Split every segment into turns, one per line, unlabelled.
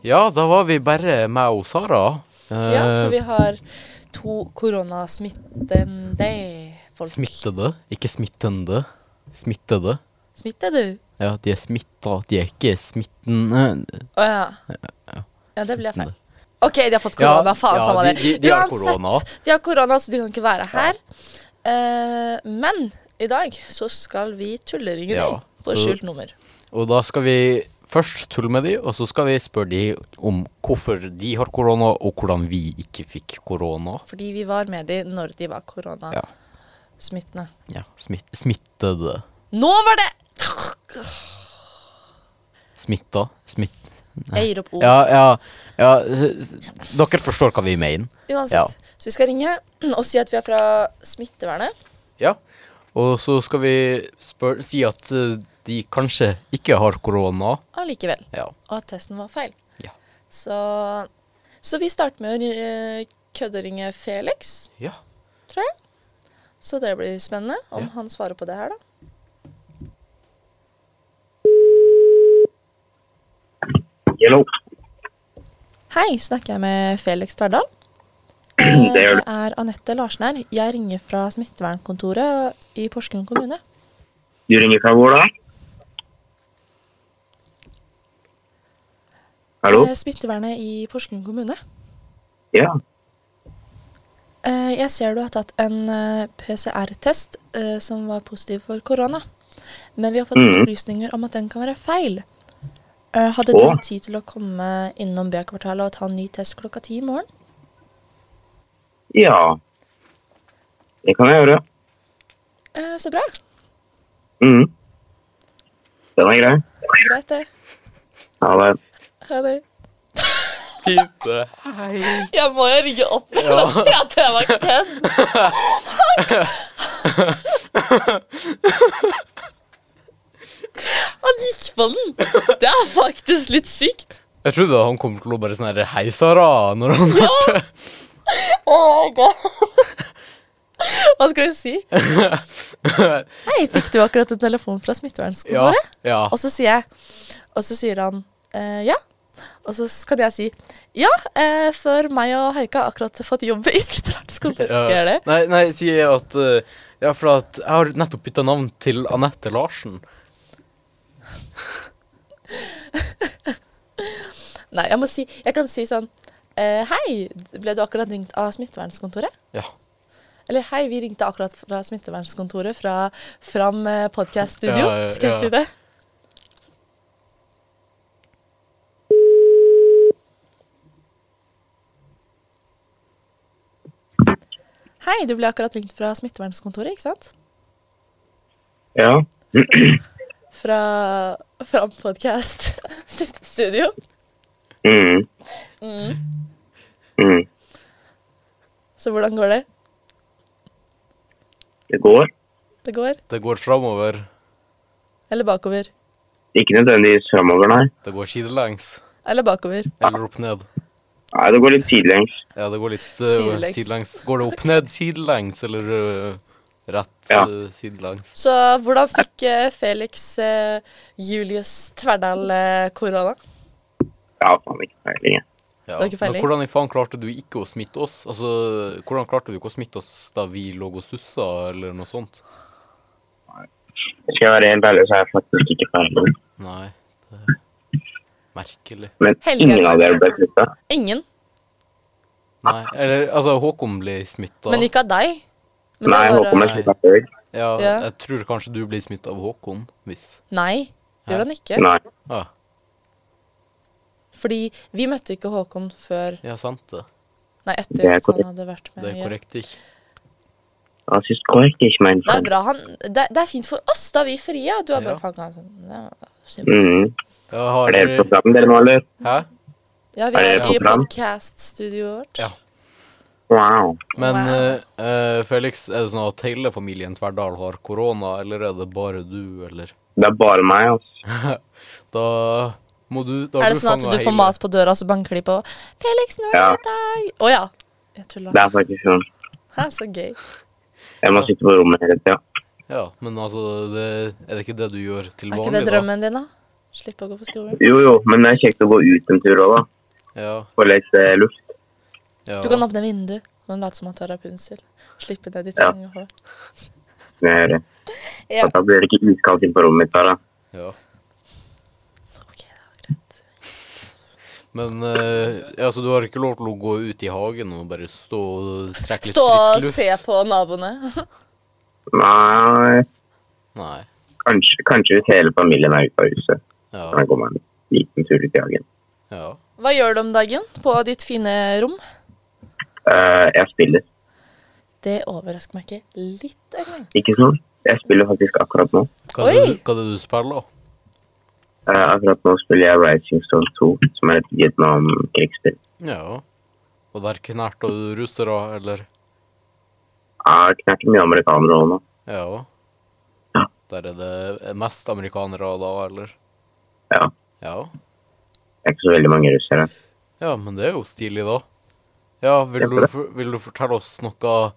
Ja, da var vi bare meg og Sara. Eh,
Ja, for vi har to koronasmittende folk.
Smittede, ikke smittende. Smittede.
Smitter du?
Ja, de er smitta, de er ikke smitten...
Å ja. Ja, det blir feil. OK, de har fått
Ja,
korona. faen,
ja,
samme
de-
det.
de- de har korona.
de har korona, så de kan ikke være her. Eh, men i dag så skal vi tulleringe
Ja,
deg på
så-
skjult nummer.
Og da skal vi først tulle med de, og så skal vi spørre de om hvorfor de har korona, og hvordan vi ikke fikk korona.
Fordi vi var med de når de var koronasmittende.
Ja, smit smittede.
Nå var det
Smitta. Smitt...
Jeg gir opp ord.
Ja, ja, ja. s- s- Dere forstår hva vi mener.
Uansett. Så vi skal ringe og si at vi er fra smittevernet.
Ja. Og så skal vi spør si at eh, de kanskje ikke har korona.
allikevel.
Ja.
Og at testen var feil.
Ja.
Så, så vi starter med å eh, kødderinge Felix,
ja.
tror jeg. Så det blir spennende om
Ja.
han svarer på det her, da.
Hello.
Hei, snakker jeg med Felix Tverdal?
Det
Eh,
gjør du.
Det er Anette Larsen her. Jeg ringer fra smittevernkontoret i Porsgrunn kommune.
Du ringer fra hvor da? Hallo?
Eh, Smittevernet i Porsgrunn kommune.
Ja.
Eh, Jeg ser du har tatt en eh, PCR-test eh, som var positiv for korona. Men vi har fått
Mhm.
opplysninger om at den kan være feil. Eh, Hadde du
Å.
hatt tid til å komme innom B-kvartalet og ta en ny test klokka ti i morgen?
Ja. Det kan jeg gjøre.
Eh, Så bra.
Mhm. Den er grei.
Greit, det.
Ha det.
Ha det.
Fint. Hei.
Jeg må jo ringe opp igjen og si at det var kødd. Han gikk på den. Det er faktisk litt sykt.
Jeg trodde han kom til å bare sånn her Hei, Sara. Når han hørte
Oh my god. Hva skal vi si? Hei, fikk du akkurat en telefon fra
Ja.
smittevernkontoret?
ja.
Og så sier jeg Og så sier han eh, ja. Og så kan jeg si ja, eh, for meg og Haika har akkurat fått jobb i smittevernkontoret. Skal jeg gjøre det?
Nei, nei, sier jeg at eh, Ja, for at jeg har nettopp bytta navn til Anette Larsen.
Nei, jeg må si Jeg kan si sånn eh, Hei, ble du akkurat ringt av smittevernkontoret?
Ja.
Eller hei, vi ringte akkurat fra smittevernkontoret fra Fram eh, podcaststudio.
Ja, ja,
Skal jeg
ja.
si det? Hei, du ble akkurat ringt fra smittevernkontoret, ikke sant?
Ja.
Fra Fram podcast sitt studio.
Mhm. Mhm.
Så hvordan går det?
Det går.
Det går?
Det går framover.
Eller bakover?
Ikke nødvendigvis fremover, nei.
Det går sidelengs.
Eller bakover?
Eller opp ned.
Nei, det går litt sidelengs.
Ja, det går litt eh,
Sidelengs.
sidelengs. Går det opp ned sidelengs, eller eh, rett
Ja.
eh, sidelengs?
Så hvordan fikk eh, Felix eh, Julius Tverdal eh, korona?
Ja, faen ikke peiling. jeg.
Ja.
Det er ikke
Men
feiling.
hvordan i faen klarte du ikke å smitte oss? Altså, hvordan klarte du ikke å smitte oss da vi lå og sussa, eller noe sånt?
Skal jeg være helt ærlig, så er jeg faktisk ikke peiling.
Nei. Det er merkelig.
Men
Helge.
ingen av dere ble slutta.
Ingen,
Nei. Eller, altså, Håkon ble smitta.
men ikke av deg. Men
Nei,
det var,
Håkon ble
eh,
slutta før.
Ja,
Ja.
jeg tror kanskje du blir smitta av Håkon, hvis
Nei, det gjorde han ikke.
Nei.
Ja,
Fordi vi møtte ikke Håkon før
ja sant det.
Nei, etter
Det er
at han
korrekt.
hadde vært med.
Det er
ja.
korrekt, ikke?
Ja, sist korrekt ikke
Det
meg
er
innenfor.
bra. Han, det, det er fint for oss, da er vi frie. Og du er
Ja.
bare faen, altså, ja,
Mhm.
Jeg
Er
har
det helt på planen dere nå, eller?
Hæ?
ja, vi
Er
er
det
i
program?
podkaststudioet vårt.
Ja.
Wow.
Men
Wow.
eh, eh, Felix, er det sånn at hele familien Tverdal har korona, eller er det bare du, eller?
Det er bare meg, altså.
Da må du da har
Er det sånn at
fanget
du får
hele-
mat på døra, så banker de på 'Felix, nå er
Ja.
det deg!' Å ja. Jeg tulla.
Det er faktisk sånn.
Hæ, så gøy.
Jeg må sitte på rommet hele tida.
Ja, men altså, det, er det ikke det du gjør til
Er
vanlig,
ikke det drømmen din, da? Slippe å gå på skolen.
Jo, jo, men det er kjekt å gå ut en tur òg, da.
Ja,
Få litt eh, luft.
ja.
Du kan åpne vinduet og late som at du er Rapunzel. Slippe ned ditt
Ja.
lange hår.
Med,
Ja.
At da blir det ikke iskaldt inn på rommet mitt bare.
ja.
Ok, det var greit.
Men eh, ja, så du har ikke lov til å gå ut i hagen og bare stå og trekke litt
Stå og
frisk luft?
se på naboene.
Nei,
Nei.
kanskje, kanskje hvis hele familien er ute av huset.
Ja.
Kan jeg gå meg en liten tur ut i hagen.
ja.
Hva gjør du om dagen på ditt fine rom?
Eh, jeg spiller.
Det overrasker meg ikke litt engang.
Ikke sånn. Jeg spiller faktisk akkurat nå.
Hva er det,
Oi!
hva er det du spiller?
Eh, akkurat nå spiller jeg Rising Stone 2, som er et Vietnam-krigsspill.
Ja. Og der knerter du russere, eller?
Ah, Jeg knekker mye amerikanere òg nå.
Ja.
Ja.
Der er det mest amerikanere da, eller?
Ja.
Ja.
Det er ikke så veldig mange russere.
Ja, men det er jo stilig, da. Ja, vil du, for- vil du fortelle oss noe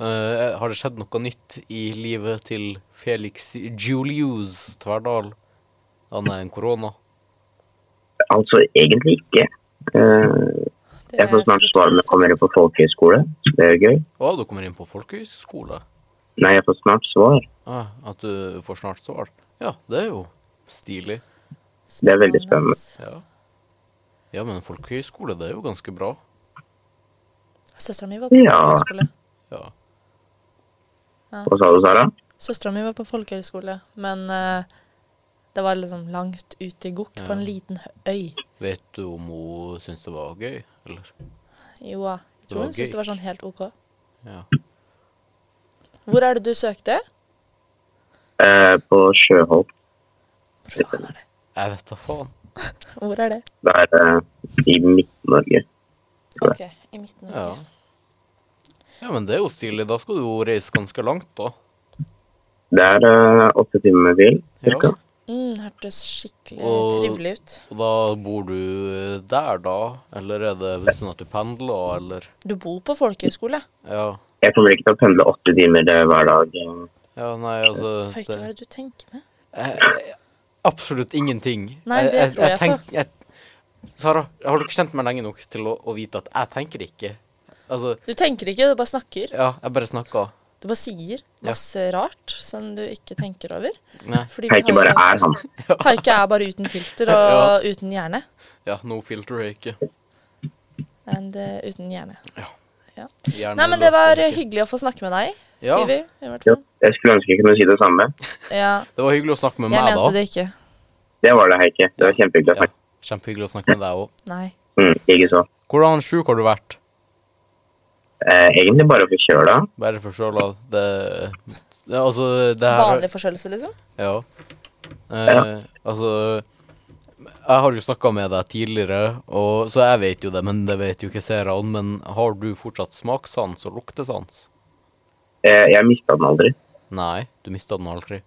eh, Har det skjedd noe nytt i livet til Felix Julius Tverdal? Annet enn korona?
Altså egentlig ikke. Eh,
Det
jeg får
er
snart
sikkert
svar om jeg kommer inn på folkehøyskole. Det er gøy.
Å, du kommer inn på folkehøyskole?
Nei, jeg får snart svar.
Ah, at du får snart svar? Ja, det er jo stilig.
Det er veldig spennende.
Ja, ja men folkehøyskole, det er jo ganske bra.
Søstera mi var på
Ja.
folkehøyskole.
Ja.
Hva sa du, Sara?
Søstera mi var på folkehøyskole, men eh, det var liksom langt ute i gokk på en liten hø- øy.
Vet du om hun syns det var gøy, eller?
Jo,
Det
ja. jeg
var
tror hun syntes
gøy.
det var sånn helt OK.
Ja.
Hvor er det du søkte?
Eh, på Sjøholt.
Hvor faen er det?
Jeg vet da faen.
Hvor er det?
Det er eh, i Midt-Norge.
OK, i Midt-Norge.
Ja. ja, men det er jo stilig. Da skal du jo reise ganske langt, da.
Det er eh, åtte timer med bil,
Ja.
cirka.
Mm, hørtes skikkelig
Og-
trivelig ut.
Og da bor du eh, der, da? Eller er det sånn at du pendler, eller?
Du bor på folkehøyskole.
Ja.
Jeg kommer ikke til å pendle åtte timer eh, hver dag. eh.
Ja, nei, altså
Høyt,
det-
hva er det du tenker med?
Jeg- Eh, Absolutt ingenting.
Nei, det tror jeg på.
tenk- jeg- Sara, har du ikke kjent meg lenge nok til å, å vite at jeg tenker ikke? Altså,
Du tenker ikke, du bare snakker.
ja, jeg bare snakker.
Du bare sier masse rart som du ikke tenker over.
Nei.
Fordi vi
Heike
har
bare
jo-
er han.
Haike er bare uten filter og uten hjerne.
Ja, no filter er ikke.
And, eh, uten hjerne.
Gjerne
Nei, men det var
løser ikke.
hyggelig å få snakke med deg,
Ja.
sier vi. i hvert
Jo,
fall.
Jeg skulle ønske jeg kunne si det samme.
Ja,
Det var hyggelig å snakke med
jeg
meg, da.
mente det ikke.
Det var det, Heike. Det var kjempehyggelig å
Ja,
snakke.
kjempehyggelig å snakke med deg òg.
Nei.
Mm, Likeså.
Hvordan sjuk har du vært?
Eh, egentlig bare forkjøla.
Bare forkjøla. Det, det Altså, det her
Vanlig forkjølelse, liksom?
Ja. Eh,
Ja.
Altså Jeg har jo snakka med deg tidligere, og, så jeg vet jo det, men det vet jo ikke seerne. Men har du fortsatt smakssans og luktesans?
Eh, jeg mista den aldri.
Nei, du mista den aldri.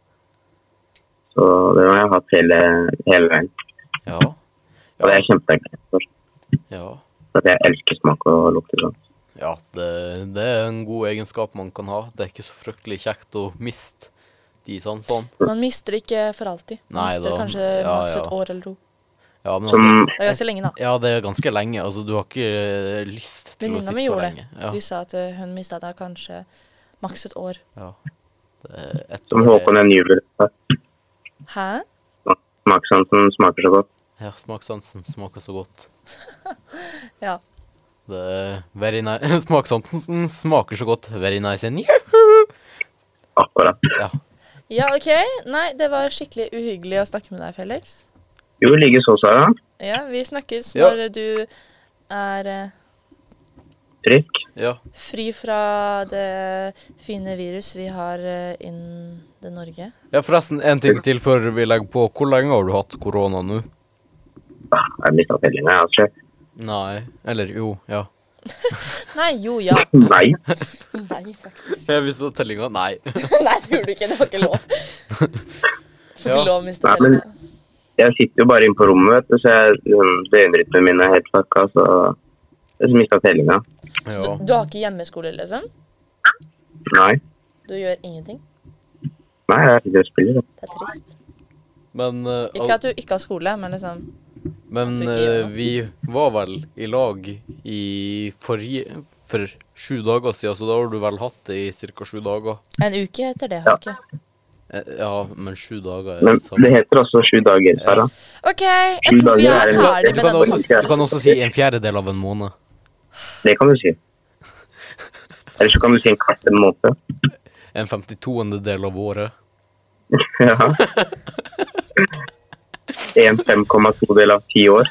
Så det har jeg hatt hele, hele veien.
Ja.
Og det er kjempeenkelt. for.
Ja.
For at jeg elsker smak og lukter sånn.
ja det, det er en god egenskap man kan ha. Det er ikke så fryktelig kjekt å miste de sansene.
Man mister det ikke for alltid. Man
Nei
mister det
da.
kanskje
Ja,
maks
ja.
et år eller to.
Ja, men
Som
altså
Det er ganske lenge, da.
Ja, det er ganske lenge. Altså, du har ikke eh, lyst til å
Venninna
sitte
mi
så
gjorde
lenge.
det. De sa at eh, hun mista det kanskje maks et år.
Ja, ja. Det er et år,
som
det-
Håkon en jubel.
Hæ?
Smakssansen smaker så godt.
Ja, smakssansen smaker så godt.
Ja.
Det er very nice Smakssansen smaker så godt. Very nice and you.
Akkurat.
Ja.
Ja, OK. Nei, det var skikkelig uhyggelig å snakke med deg, Felix.
Jo, likeså, Sara.
Ja, vi snakkes
Ja.
når du er eh,
Frisk.
ja.
fri fra det fine virus vi har eh, innen det Norge.
Ja, forresten, en ting til før vi legger på. Hvor lenge har du hatt korona nå?
Ah, Jeg mista tellinga, jeg. Altså.
Nei. Eller jo, ja.
Nei, jo, ja.
Nei.
Nei, faktisk.
Jeg mista tellinga. Nei.
Nei, det gjorde du ikke. Det var ikke lov. Får
Ja.
ikke lov å miste
Nei, men-
tellinga.
Jeg sitter jo bare inne på rommet, vet du, så jeg, liksom, døgnrytmen min er helt fucka, så jeg mista tellinga.
Så
Ja.
du, du har ikke hjemmeskole, liksom?
Nei.
Du gjør ingenting?
Nei, jeg sitter og spiller. da.
Det er trist.
Men eh,
Ikke at du ikke har skole, men liksom
Men
Jeg tror ikke jeg
eh,
var.
vi var vel i lag i forrige For sju dager siden, så da har du vel hatt det i ca. sju dager.
En uke etter det har jeg ikke.
Eh, Ja, men sju dager er
Men
det
sånn.
samme.
det heter også sju dager, Sara.
OK, jeg tror vi
dager er
er
en uke.
ferdig
Du
med
kan,
denne
også,
samtalen.
du kan også si en fjerdedel av en måned.
Det kan du si. Eller så kan du si en kvart en måned.
En 52. del av året.
Ja. En 5,2 del av ti år.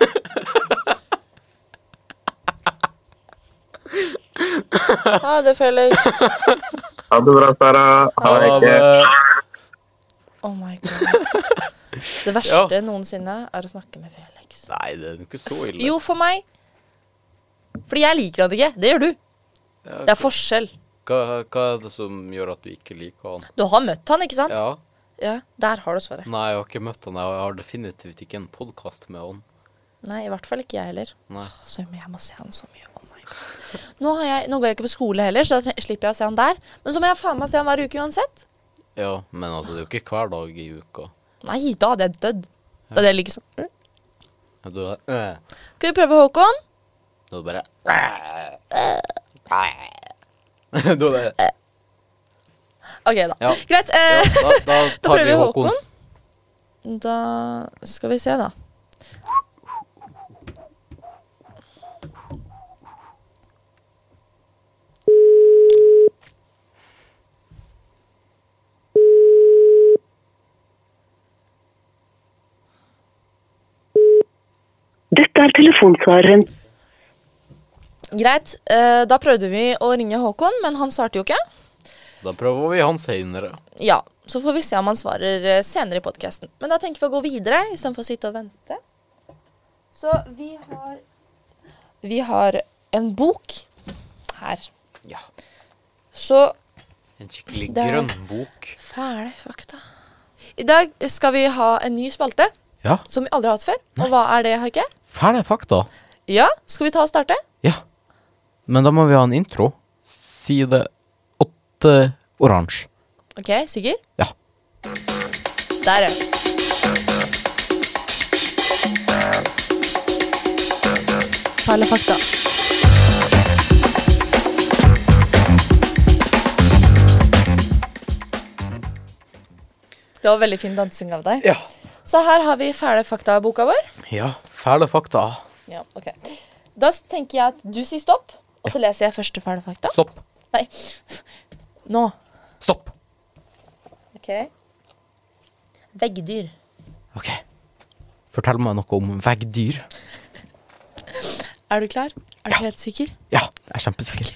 Ha det, Felix.
Ha det bra, Sara. Ha det ikke.
Oh my god. Det verste noensinne er å snakke med Felix.
Nei, det er jo ikke så Oh, ille.
Jo, for meg. Fordi jeg liker han ikke. Det gjør du.
Ja,
Det er forskjell.
Hva, hva er det som gjør at du ikke liker han?
Du har møtt han, ikke sant?
Ja.
Ja, Der har du svaret.
Nei, jeg har ikke møtt han. Jeg har definitivt ikke en podkast med han.
Nei, i hvert fall ikke jeg heller.
Nei.
Så jeg må se han så mye. Oh my god. Nå, har jeg, nå går jeg ikke på skole heller, så da tre- slipper jeg å se han der. Men så må jeg faen meg se han hver uke uansett.
Ja, men altså, det er jo ikke hver dag i uka.
Nei, da hadde jeg dødd. Da hadde jeg ligget sånn. Mm.
Ja, Du er øh.
Skal vi prøve Håkon?
Du er bare Du er bare
OK, da.
Ja.
Greit.
ja,
Eh,
da, da
Da
tar
prøver
vi
vi
Håkon.
Håkon. Da skal vi se, da.
Dette er telefonsvareren.
Greit. Eh, da prøvde vi å ringe Håkon, men han svarte jo ikke.
Da prøver vi han seinere.
Ja, Så får vi se om han svarer eh, senere i podkasten. Men da tenker vi å gå videre istedenfor å sitte og vente. Så vi har Vi har en bok her.
Ja.
Så
En skikkelig
Det er-
grønn bok.
fæle fakta. I dag skal vi ha en ny spalte
Ja.
som vi aldri har hatt før. Og hva er det, Haike?
Fæle fakta.
Ja, skal vi ta og starte?
Ja. Men da må vi ha en intro. Side åtte oransje.
OK, Sigurd?
Ja.
Der, ja. Fæle fakta. Det var veldig fin dansing av deg.
Ja.
Så her har vi fæle fakta-boka vår.
ja. Fæle fakta.
Ja, ok. Da s- tenker jeg at du sier stopp, og så leser jeg første fæle fakta.
Stopp.
Nei. Nå.
Stopp.
Ok. Veggdyr.
OK. Fortell meg noe om veggdyr.
Er du klar? Er du helt sikker?
Ja, jeg er kjempesikker.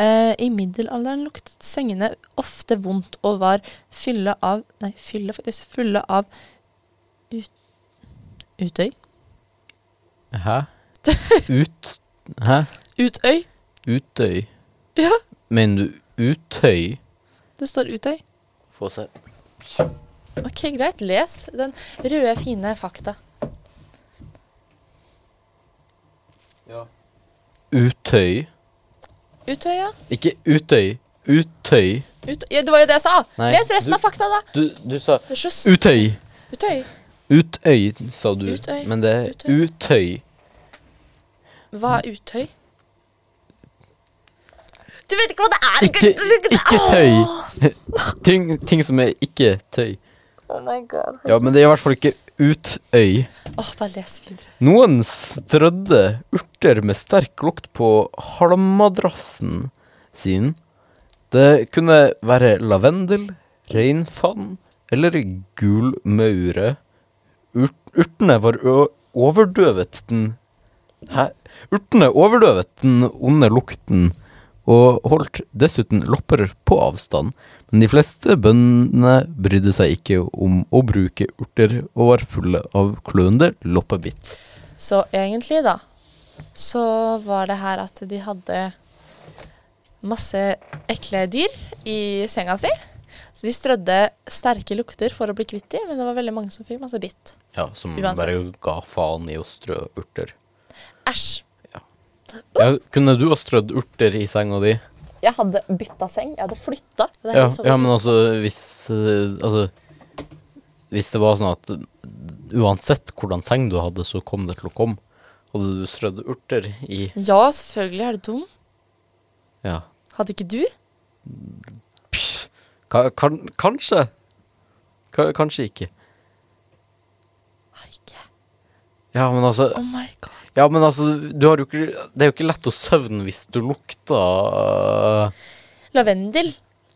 Eh, I middelalderen luktet sengene ofte vondt og var fylle av Nei, fylle faktisk. Fulle av ut, Utøy?
Hæ? Ut... Hæ?
Utøy?
Utøy?
Ja,
Mener du Utøy?
det står Utøy.
Få se.
Ok, greit. Les den røde, fine fakta.
Utøy?
Utøy, ja.
Ikke Utøy. Utøy.
Utøy. ja. Det var jo det jeg sa!
Nei,
Les resten
du-
av fakta, da!
Du, du sa
Det er så s-
Utøy.
Utøy.
Utøy, sa du.
Utøy.
Men det er
Utøy.
Utøy.
Hva er utøy? Du vet ikke hva det er!
Ikke,
gutt!
ikke tøy. Ting, ting som er ikke tøy.
Oh my god.
Ja, men det er i hvert fall ikke Utøy.
Åh, bare les videre.
Noen strødde urter med sterk lukt på halmmadrassen sin. Det kunne være lavendel, reinfann eller gulmaure. Urt urtene var ø overdøvet den Hæ? Urtene overdøvet den onde lukten og holdt dessuten lopper på avstand, men de fleste bøndene brydde seg ikke om å bruke urter og var fulle av kløende loppebitt.
Så egentlig, da, så var det her at de hadde masse ekle dyr i senga si. Så de strødde sterke lukter for å bli kvitt dem, men det var veldig mange som fikk masse bitt.
Ja, som
Uansett.
bare ga faen i å strø urter.
Æsj.
Ja, kunne du ha strødd urter i senga di?
Jeg hadde sånn bytta seng. Jeg hadde flytta.
Ja, ja men altså hvis eh, Altså Hvis det var sånn at uansett hvordan seng du hadde, så kom det til å komme. Hadde du strødd urter i
Ja, selvfølgelig er du dum.
Ja.
Hadde ikke du?
Pff, ka- kan, kanskje. Ka, kanskje ikke.
Har ikke.
Ja, men altså
Oh my god.
Ja, men altså, du har jo ikke Det er jo ikke lett å søvne hvis du lukter øh,
Lavendel.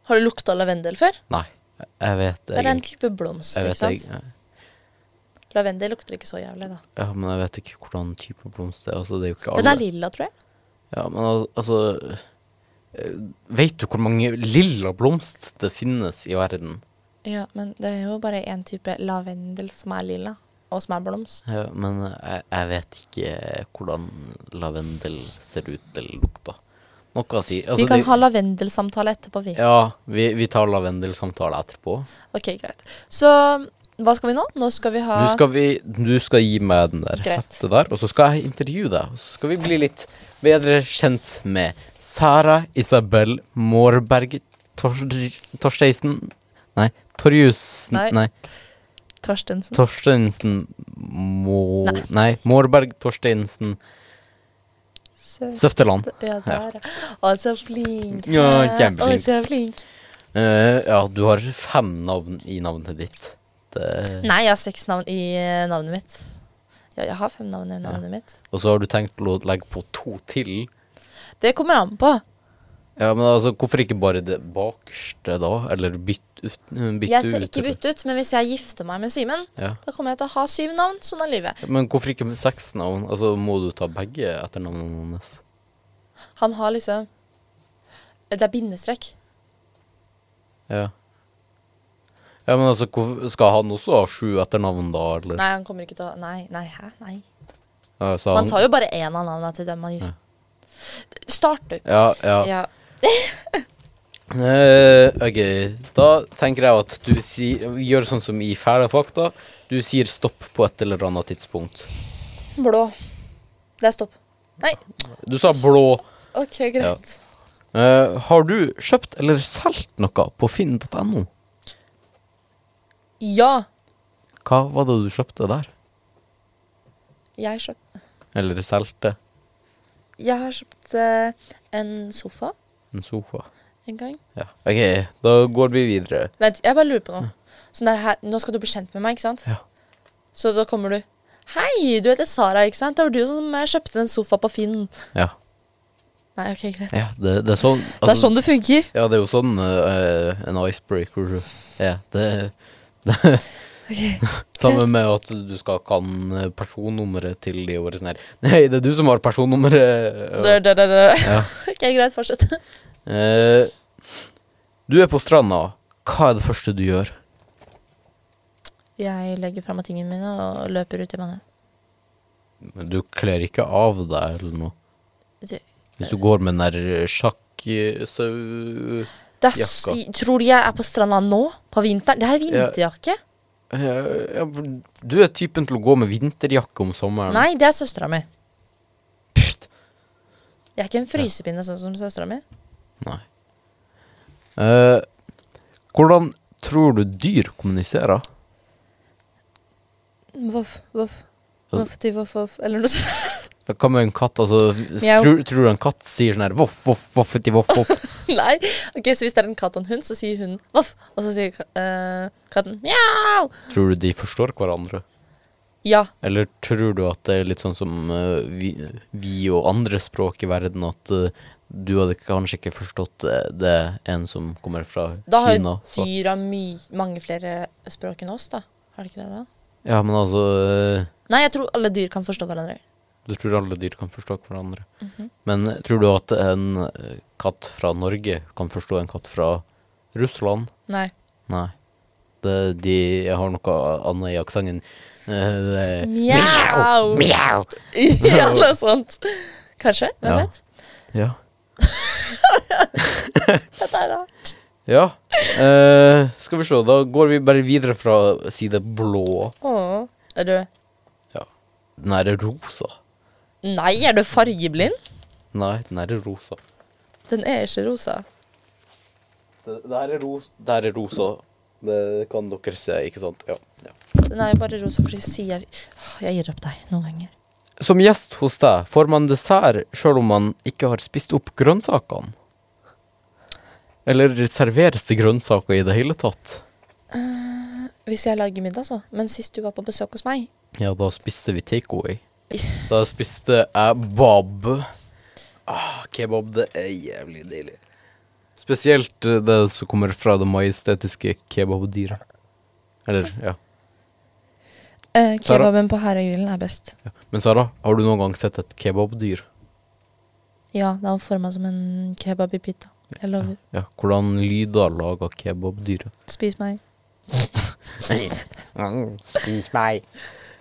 Har du lukta lavendel før?
Nei, jeg vet
Det er en
egentlig
type blomst,
jeg
ikke
vet,
sant?
jeg,
Lavendel lukter ikke så jævlig, da.
ja, men jeg vet ikke hvordan type blomst det er. Altså, det er jo ikke
Den
alle
er lilla, tror jeg.
Ja, men al- altså øh, Vet du hvor mange lilla blomst det finnes i verden?
Ja, men det er jo bare én type lavendel som er lilla, og som er blomst.
Ja, men jeg, jeg vet ikke hvordan lavendel ser ut eller lukter. Noe sier altså,
vi kan
det-
ha lavendelsamtale etterpå, vi.
Ja, vi, vi tar lavendelsamtale etterpå.
Ok, greit. Så hva skal vi nå? Nå skal vi ha
Nå skal vi Du skal gi meg den der,
Greit.
hette der, og så skal jeg intervjue deg. Og så skal vi bli litt bedre kjent med Sara Isabel Mårberg Tor Torsteisen Nei, Torjussen
Nei.
Nei,
Torstensen.
Torsteinsen Må...
Nei.
Nei, Mårberg Torsteinsen Søfteland.
Ja, der, ja. Å, så flink.
Ja,
Å,
kjempeflink.
så flink.
Eh, ja, du har fem navn i navnet ditt. Det,
Nei, jeg har seks navn i eh, navnet mitt. Ja, jeg har fem navn i navnet mitt.
og så har du tenkt å legge på to til.
Det kommer an på.
Ja, men altså, hvorfor ikke bare det bakerste, da? Eller bytte ut? Bytte
Jeg skal ikke
ut,
bytte ut, men hvis jeg gifter meg med Simen,
Ja.
da kommer jeg til å ha syv navn. Sånn er livet.
Men hvorfor ikke med seks navn? Altså, må du ta begge etternavnene hennes?
Han har liksom Det er bindestrek.
Ja. Ja, men altså, hvorfor, skal han også ha sju etternavn, da, eller?
Nei, han kommer ikke til å Nei, nei, hæ? Nei.
Ja, sa
Man
han-
tar jo bare én av navnene til dem man gifter Starter.
Ja, ja.
Ja.
Eh, ok, da tenker jeg at du sier, gjør sånn som i fæle fakta. Du sier stopp på et eller annet tidspunkt.
Blå. Det er stopp. Nei.
Du sa blå.
OK, greit.
Eh, har du kjøpt eller solgt noe på finn.no?
Ja.
Hva var det du kjøpte der?
Jeg, kjøp,
Eller solgte?
jeg har kjøpt eh, en sofa
En sofa?
en gang.
Ja. Ok, da går vi videre.
Vent, jeg bare lurer på noe. Sånn der her, nå skal du bli kjent med meg, ikke sant?
Ja.
Så da kommer du. Hei, du heter Sara, ikke sant? Det var du som eh, kjøpte den sofa på Finn.
Ja.
Nei, ok, greit.
Ja, det, det er sånn
det er sånn det funker.
Ja, det er jo sånn eh, en icebreaker er. Det, det Sammen med at du skal kan personnummeret til de og bare sånn her Nei, det er du som har personnummeret.
Det, det, det, det.
Ja.
Ok, greit, fortsett.
Eh, du er på stranda. Hva er det første du gjør?
Jeg legger fra meg tingene mine og løper ut i vannet.
Du kler ikke av deg eller noe.
Det-
Hvis du går med den der sjakksau...
Det er, s-
Jakka.
tror du jeg er på stranda nå? På vinteren? Det er vinterjakke.
Ja, du er typen til å gå med vinterjakke om sommeren.
Nei, det er søstera mi. Jeg er ikke en frysepinne sånn som søstera mi.
Nei. Eh, hvordan tror du dyr kommuniserer?
Voff, voff. Voff, di, voff, voff. Eller noe sånt.
Hva med en katt? Altså,
Mjau.
tror, tror du en katt sier sånn her voff, voff, voffeti, voff, voff?
Nei. Ok, Så hvis det er en katt og en hund, så sier hunden voff. Og så sier ka- eh, katten mjau.
tror du de forstår hverandre?
Ja.
Eller tror du at det er litt sånn som eh, vi, vi og andre språk i verden, at eh, du hadde kanskje ikke forstått det, det er en som kommer fra
Da har
Kina?
jo
Så.
dyra my mange flere språk enn oss, da. Har de ikke det, da?
Ja, men altså eh,
Nei, jeg tror alle dyr kan forstå hverandre.
Du tror alle dyr kan forstå hverandre.
Mhm.
Men eh, tror du at en eh, katt fra Norge kan forstå en katt fra Russland?
Nei.
Nei. Det, de har noe annet i aksenten. Eh, det-
Mjau!
Mjau!
ja, noe sånt. Kanskje. Hvem
Ja.
vet?
Ja.
Dette er rart.
ja. Eh, skal vi se, da går vi bare videre fra side blå.
Åh. Er du
Ja. Den her er rosa.
Nei, er du fargeblind?
Nei, den her er rosa.
Den er ikke rosa.
Det, det her er ros- det her er rosa, Det kan dere se, ikke sant? Ja. ja.
Den er jo bare rosa fordi sier jeg Åh, Jeg gir opp deg noen ganger.
Som gjest hos deg får man dessert sjøl om man ikke har spist opp grønnsakene? Eller serveres det grønnsaker i det hele tatt?
Hvis jeg lager middag, så. Men sist du var på besøk hos meg
Ja, da spiste vi takeaway. Da spiste jeg bab. Ah, kebab, det er jævlig deilig. Spesielt eh, det som kommer fra det majestetiske kebabdyret. Eller, ja.
eh,
Sara?
Kebaben på Herregrillen er best.
ja. Men Sara, har du noen gang sett et kebabdyr?
Ja, det er forma som en kebab i pita. Jeg lover.
Ja, hvordan lyder lager kebabdyret?
Spis meg.
Mm, spis meg.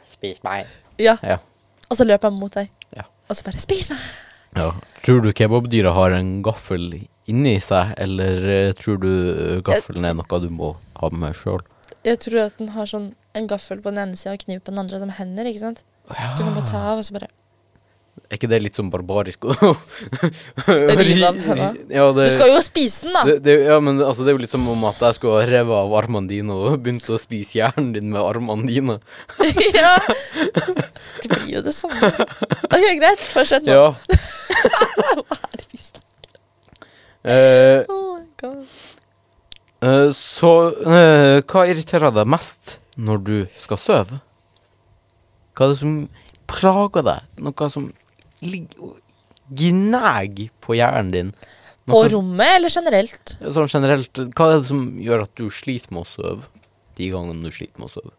Spis meg.
Ja.
Ja.
Og så løper jeg mot deg.
Ja.
Og så bare Spis meg!
Ja. Tror du kebabdyret har en gaffel inni seg, eller eh, tror du eh, gaffelen er noe du må ha med sjøl?
Jeg tror at den har sånn en gaffel på den ene sida og kniv på den andre som hender. ikke sant? Så du kan bare ta av, og så bare
Er ikke det litt sånn barbarisk?
Rive av henne?
Ja,
Du
det,
skal jo spise den, da!
det, det, ja, men altså, det er jo litt som om at jeg skulle ha revet av armene dine og begynt å spise hjernen din med armene dine.
ja. Det blir jo det samme. Ok, greit. Fortsett nå.
Ja.
Hva er det vi snakker
Eh,
Oh my god.
eh, så eh, hva irriterer deg mest når du skal sove? Hva er det som plager deg? Noe som ligger og gnager på hjernen din?
På
Noe-
rommet, eller generelt?
Ja, Sånn generelt, hva er det som gjør at du sliter med å sove? De gangene du sliter med å sove.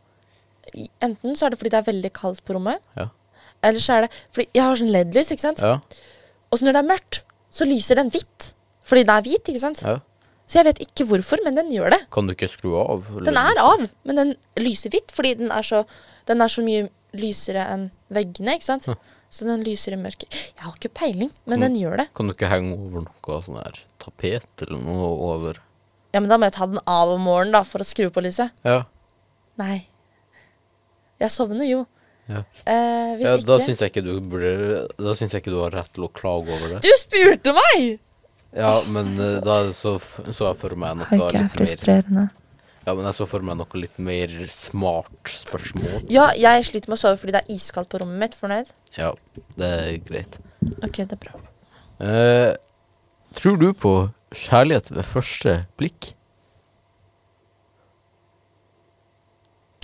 I- Enten så er det fordi det er veldig kaldt på rommet,
Ja.
eller så er det fordi jeg har sånn LED-lys, ikke sant?
Ja,
Og så når det er mørkt, så lyser den hvitt. Fordi den er hvit, ikke sant?
ja.
Så jeg vet ikke hvorfor, men den gjør det.
Kan du ikke skru av? eller
Den er
liksom?
av, men den lyser hvitt fordi den er så, den er så mye lysere enn veggene, ikke sant? Så den lyser i mørket. Jeg har ikke peiling,
Mm.
men den gjør det.
Kan du ikke henge over noe sånn her tapet eller noe over?
Ja, men da må jeg ta den av om morgenen da, for å skru på lyset.
Ja,
Nei. Jeg sovner jo.
Ja.
Eh, hvis
ja da
ikke...
syns jeg ikke du burde Da syns jeg ikke du har rett til å klage over det.
Du spurte meg!
Ja, men eh, da er det så, f- så jeg for meg noe litt mer
frustrerende.
Ja, men jeg så for meg noe litt mer smart spørsmål.
Ja, jeg sliter med å sove fordi det er iskaldt på rommet mitt. Fornøyd?
Ja, det er greit.
Ok, det er bra.
Eh, tror du på kjærlighet ved første blikk?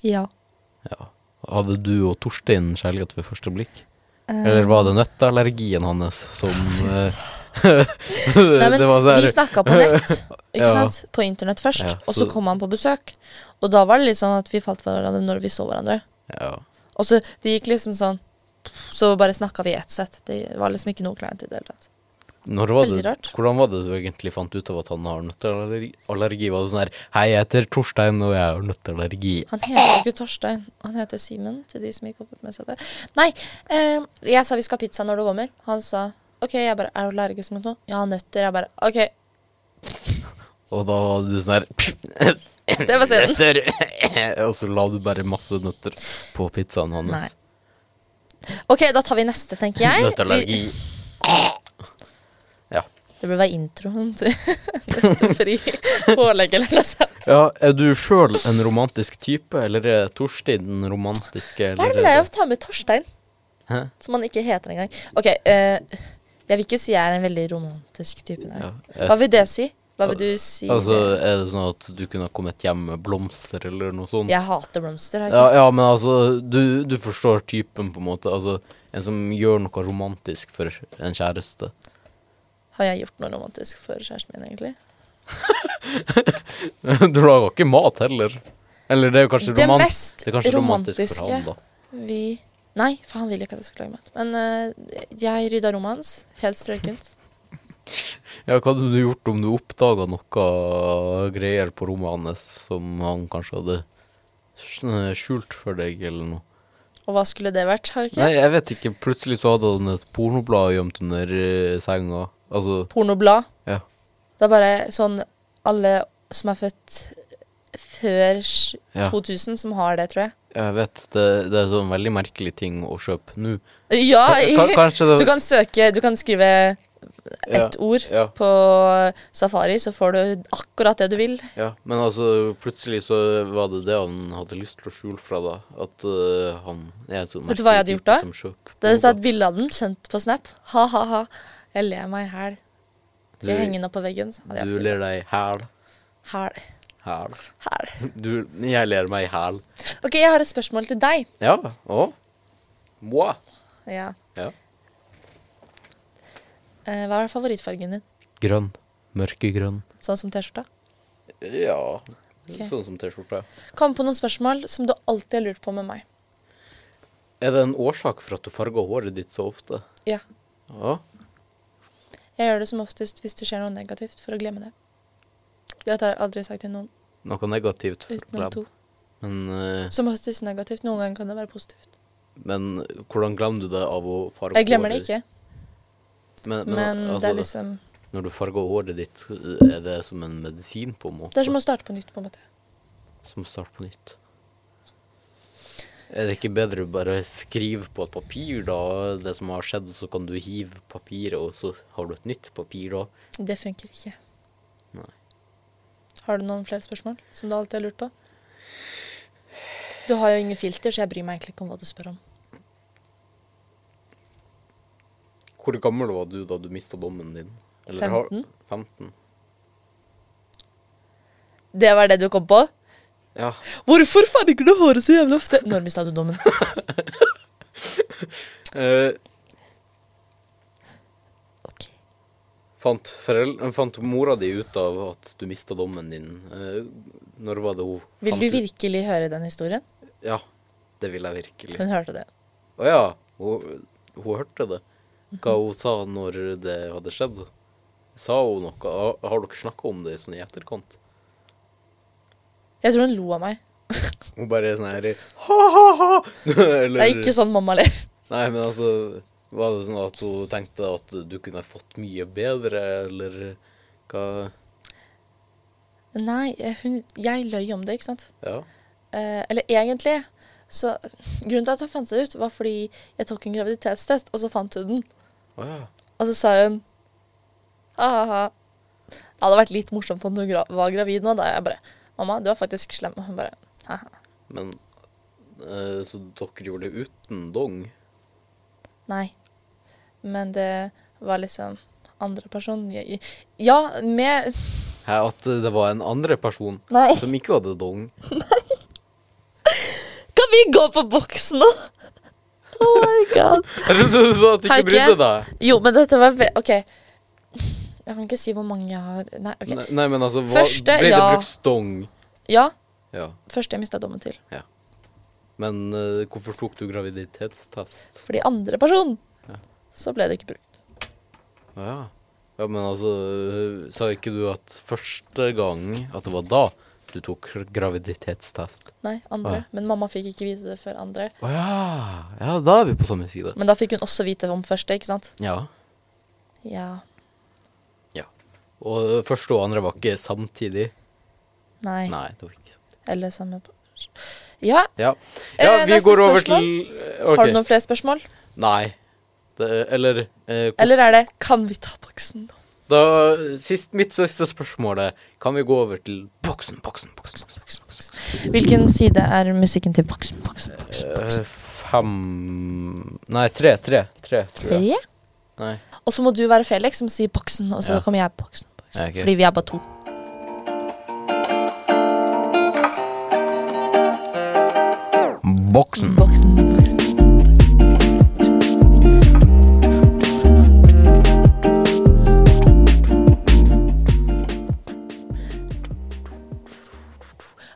Ja.
Hadde du og Torstein kjærlighet ved første blikk? Eller var det nøtteallergien hans som eh,
Nei, men
Det var sånn her-
vi snakka på nett, ikke
Ja.
sant? På internett først.
Ja,
Og så
så-
kom han på besøk. Og da var det litt sånn at vi falt for hverandre når vi så hverandre.
Ja.
Og så det gikk liksom sånn Så bare snakka vi i ett sett. Det var liksom ikke noe kleint i det hele tatt.
Når var
Veldig
det,
rart.
Hvordan var det du egentlig fant ut av at han har nøtteallergi? Allergi? Var det sånn her Hei, jeg heter Torstein, og jeg har nøtteallergi.
Han heter jo ikke Torstein. Han heter Simen, til de som ikke har fått med seg det. Nei, eh, jeg sa vi skal ha pizza når du kommer. Han sa OK, jeg bare Er du allergisk mot noe? Ja, nøtter. Jeg bare OK.
Og da var du sånn her
Det var synd.
Nøtter. og så la du bare masse nøtter på pizzaen hans.
Nei. OK, da tar vi neste, tenker jeg.
Nøtteallergi.
Vi-
Ja.
Det burde være introen til Nøttefri pålegg eller noe sånt.
ja. Er du sjøl en romantisk type, eller er Torstein den romantiske?
Hva er det med deg å ta med Torstein?
Hæ?
Som han ikke heter engang. Ok, eh, jeg vil ikke si jeg er en veldig romantisk type. Nei.
eh.
Hva vil det si? Hva vil du si?
Altså, er det sånn at du kunne ha kommet hjem med blomster eller noe sånt?
jeg hater blomster. har jeg
Ja,
ikke?
ja, men altså, du, du forstår typen, på en måte. Altså, en som gjør noe romantisk for en kjæreste.
Har jeg gjort noe romantisk for kjæresten min, egentlig?
du lager ikke mat heller. Eller det er jo kanskje,
Det
roman-
mest
det er kanskje romantisk for
romantiske.
han, da.
Vi Nei, for han vil ikke at jeg skal lage mat. Men eh, jeg rydda rommet hans. Helt strøkent.
Ja, hva hadde du gjort om du oppdaga noe greier på rommet hans som han kanskje hadde sj- skjult for deg, eller noe?
Og hva skulle det vært? Har jeg ikke?
Nei, jeg vet ikke. Plutselig så hadde han et pornoblad gjemt under eh, senga. Altså,
Pornoblad.
ja.
Det er bare sånn alle som er født før sj-
Ja.
2000, som har det, tror jeg.
Jeg vet, det, det er sånn veldig merkelig ting å kjøpe nå.
Ja,
Ka- kanskje det-
du kan søke Du kan skrive
Ja,
ett ord
ja.
på safari, så får du akkurat det du vil.
Ja, men altså, plutselig så var det det han hadde lyst til å skjule fra deg. At eh, han er en sånn
Vet du hva
merkelig
jeg hadde gjort da?
type som kjøper
Det er
bomber.
tatt bilde av den, sendt på Snap. Ha, ha, ha. Jeg ler meg i hæl. Skal jeg
Du-
henge den opp på veggen? så Hadde jeg
Du
skrevet.
ler deg i hæl.
Hæl.
Hæl.
Hæl.
Du Jeg ler meg i hæl.
OK, jeg har et spørsmål til deg.
Ja. Å? Moi.
Ja.
Ja.
Eh, hva er favorittfargen din?
Grønn. Mørkegrønn.
Sånn som T-skjorta?
Ja.
Ok.
Sånn som T-skjorta.
Kom på noen spørsmål som du alltid har lurt på med meg.
Er det en årsak for at du farger håret ditt så ofte?
Ja.
Ja.
Jeg gjør det som oftest hvis det skjer noe negativt, for å glemme det. Det har jeg aldri sagt til noen,
Noe negativt for
utenom
glem.
to.
Men, eh,
Som oftest negativt. Noen ganger kan det være positivt.
men hvordan glemmer du det av å farge
Jeg glemmer det
håret?
ikke,
Men, men,
men
altså,
det er liksom
når du farger håret ditt, er det som en medisin på en måte?
Det er som å starte på nytt, på en måte.
som start på nytt. Er det ikke bedre å bare skrive på et papir da, det som har skjedd, og så kan du hive papiret, og så har du et nytt papir da?
Det funker ikke.
Nei.
Har du noen flere spørsmål som du alltid har lurt på? Du har jo ingen filter, så jeg bryr meg egentlig ikke om hva du spør om.
Hvor gammel var du da du mista dommen din? Eller har-
15.
15.
Det var det du kom på?
Ja.
Hvorfor farger du håret så jævlig ofte? Når mista du dommen?
Eh,
Ok.
fant, forel- fant mora di ut av at du mista dommen din? Eh, når var det hun
Vil
fant
du
ut-
virkelig høre den historien?
Ja, det vil jeg virkelig.
Hun hørte det.
Å ja, hun, hun hørte det. Hva hun sa når det hadde skjedd. Sa hun noe? Har- Har dere snakka om det sånn i etterkant?
Jeg tror hun lo av meg.
Hun bare er sånn her ha-ha-ha! Eller
Det er ikke sånn mamma ler.
Nei, men altså Var det sånn at hun tenkte at du kunne fått mye bedre, eller hva
Nei, eh, hun, jeg løy om det, ikke sant?
Ja.
Eh, eller egentlig så Grunnen til at hun fant det ut, var fordi jeg tok en graviditetstest, og så fant hun den.
Å ja.
Og så sa hun ha-ha-ha. Det hadde vært litt morsomt om du gra var gravid nå. Da jeg bare Mamma, du er faktisk slem. Og hun bare «Haha».
Men eh, Så dere gjorde det uten dong?
Nei. Men det var liksom andre person. Jeg, ja, med
Hæ, at det var en andre person
Nei.
som ikke hadde dong?
Kan vi gå på boks nå? Oh my god.
Jeg trodde du sa at du ikke
Heike?
brydde deg.
Jo, men dette var ve OK. Jeg kan ikke si hvor mange jeg har Nei, OK.
Nei, nei, men altså, hva,
Første,
ble det
ja.
brukt stong?
Ja,
Ja.
første jeg mista dommen til.
Men eh, hvorfor tok du graviditetstest?
Fordi andre person,
Ja.
så ble det ikke brukt.
Å Ja. ja, men altså, eh, sa ikke du at første gang, at det var da, du tok graviditetstest?
Nei, andre.
Ah.
Men mamma fikk ikke vite det før andre.
Å ja. ja, da er vi på samme side.
Men da fikk hun også vite om første, ikke sant?
Ja.
Ja.
ja. Og første og andre var ikke samtidig?
Nei.
Nei, det var ikke
Eller samme Ja.
Ja, ja
Eh,
vi
neste
går over
spørsmål.
til eh, ok.
Har du noen flere spørsmål?
Nei. Det, eller eh, hvor-
Eller er det Kan vi ta boksen nå?
Da, sist, mitt siste spørsmål er Kan vi gå over til boksen, boksen, boksen, boksen, boksen, boksen.
Hvilken side er musikken til boksen, boksen, boksen?
Eh, Fem Nei, tre, tre, tre, tror jeg.
Tre?
Nei.
Og så må du være Felix som sier boksen, og
Ja.
så kommer jeg boksen. boksen.
Ja, ok.
Fordi vi er bare to.
Boksen
Mm. Boksen, boksen.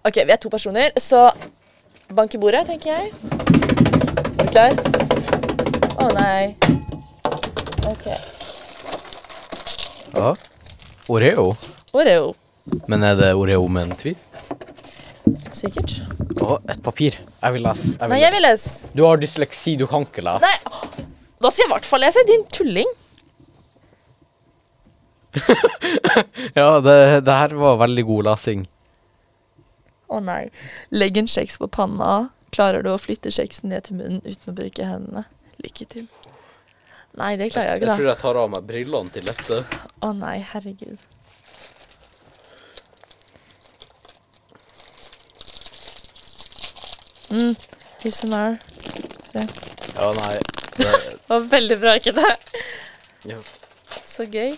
Ok, vi er to personer, så bank i bordet, tenker jeg. Er du klar? Å nei. Ok.
Ja. Oreo
Oreo.
Men er det Oreo med en twist?
Sikkert.
Å, et papir Jeg vil lese jeg vil.
Nei, jeg vil lese.
Du har dysleksi, du kan ikke lese
Nei, åh, da skal jeg i hvert fall lese. Din tulling.
Ja, det, det her var veldig god lesing
Å nei. Legg en kjeks på panna. Klarer du å flytte kjeksen ned til munnen uten å bruke hendene? Lykke til. Nei, det klarer jeg
Jeg
ikke,
tror jeg tar av meg brillene til dette.
da. Å nei, herregud. Mm, ASMR. Se.
Ja, nei. Det,
Det var veldig bra, ikke det?
ja.
Så gøy.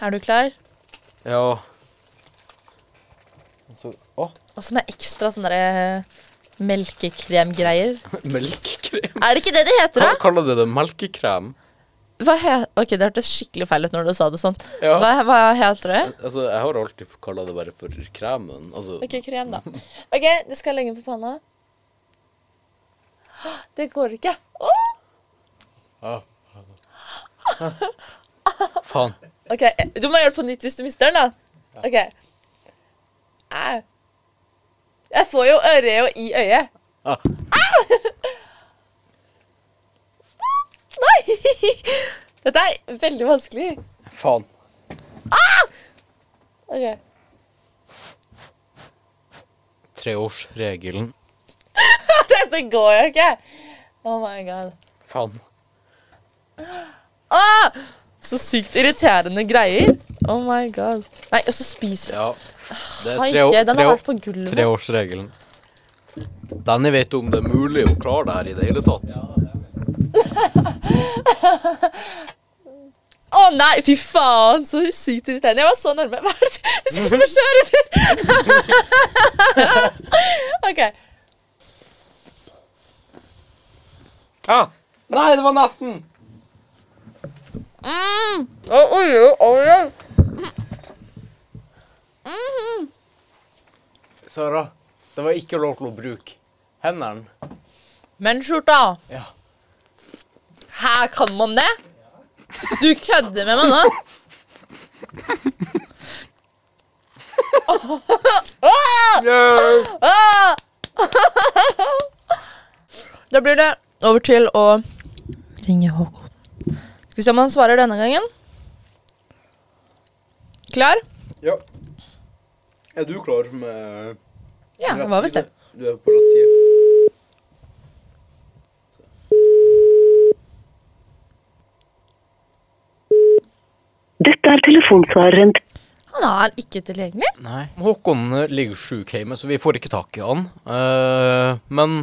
Er du klar?
ja. Så, å,
Og så med ekstra sånne der, eh, melkekremgreier.
melkekrem.
Er det ikke det det heter,
Hva
da?
kaller det det? Melkekrem?
Hva he ok, Det hørtes skikkelig feil ut når du sa det sånn.
Ja.
Hva, hva heter det?
Altså, jeg har alltid kalla det bare for kremen. Altså,
Ok, krem, da. Ok, det skal lenge på panna. Åh, Det går ikke. Åh!
faen.
Ok, Du må gjøre det på nytt hvis du mister den, da. Ok. Au. Jeg får jo øreo i øyet.
Ah.
Nei! Dette er veldig vanskelig.
Faen.
Ok.
Treårsregelen.
Dette går jo ikke. Oh my god.
Faen.
Ah! Så sykt irriterende greier. Oh my god. Nei, og så spiser
Ja. Det
jeg
er
ikke.
treo-
Den har
treo-
vært på gulvet.
treårsregelen. Danny vet om det er mulig å klare det her i det hele tatt.
Å nei, fy faen, så sykt irriterende. Jeg var så nærme. Hva er det du spiser med sjøørreter? OK.
Ah! Nei, det var nesten!
Mm. Mm-hmm.
Sara, det var ikke lov til å bruke hendene.
Men skjorta,
Ja.
her kan man det? Du kødder med meg nå? Ah! Da blir det over til å ringe Håkon. Skal vi se om han svarer denne gangen. Klar?
Ja. Er du klar med
Ja, det var visst det.
Du er på rett side.
Dette er telefonsvareren.
Han er ikke tilgjengelig.
Nei. Håkon eh, ligger sjuk hjemme, så vi får ikke tak i han. Eh, men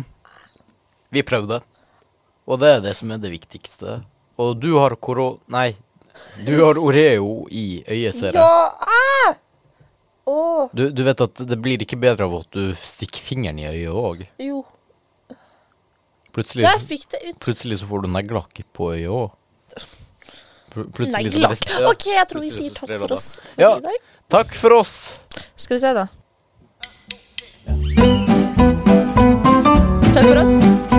vi prøvde. Og det er det som er det viktigste. Og du har koro... Nei. Du har Oreo i øyet, ser jeg.
ah! Åh,
Du, du vet at det blir ikke bedre av at du stikker fingeren i øyet òg.
jo.
Plutselig,
Jeg fikk det ut.
plutselig så får du neglelakk på øyet òg. Pl plutselig så
Neglelakk.
bare- ja,
OK, jeg tror vi
plutselig
sier
så
takk
streler
for
det.
oss for
Ja.
i dag.
Takk for oss!
Skal vi se, da. Takk for oss.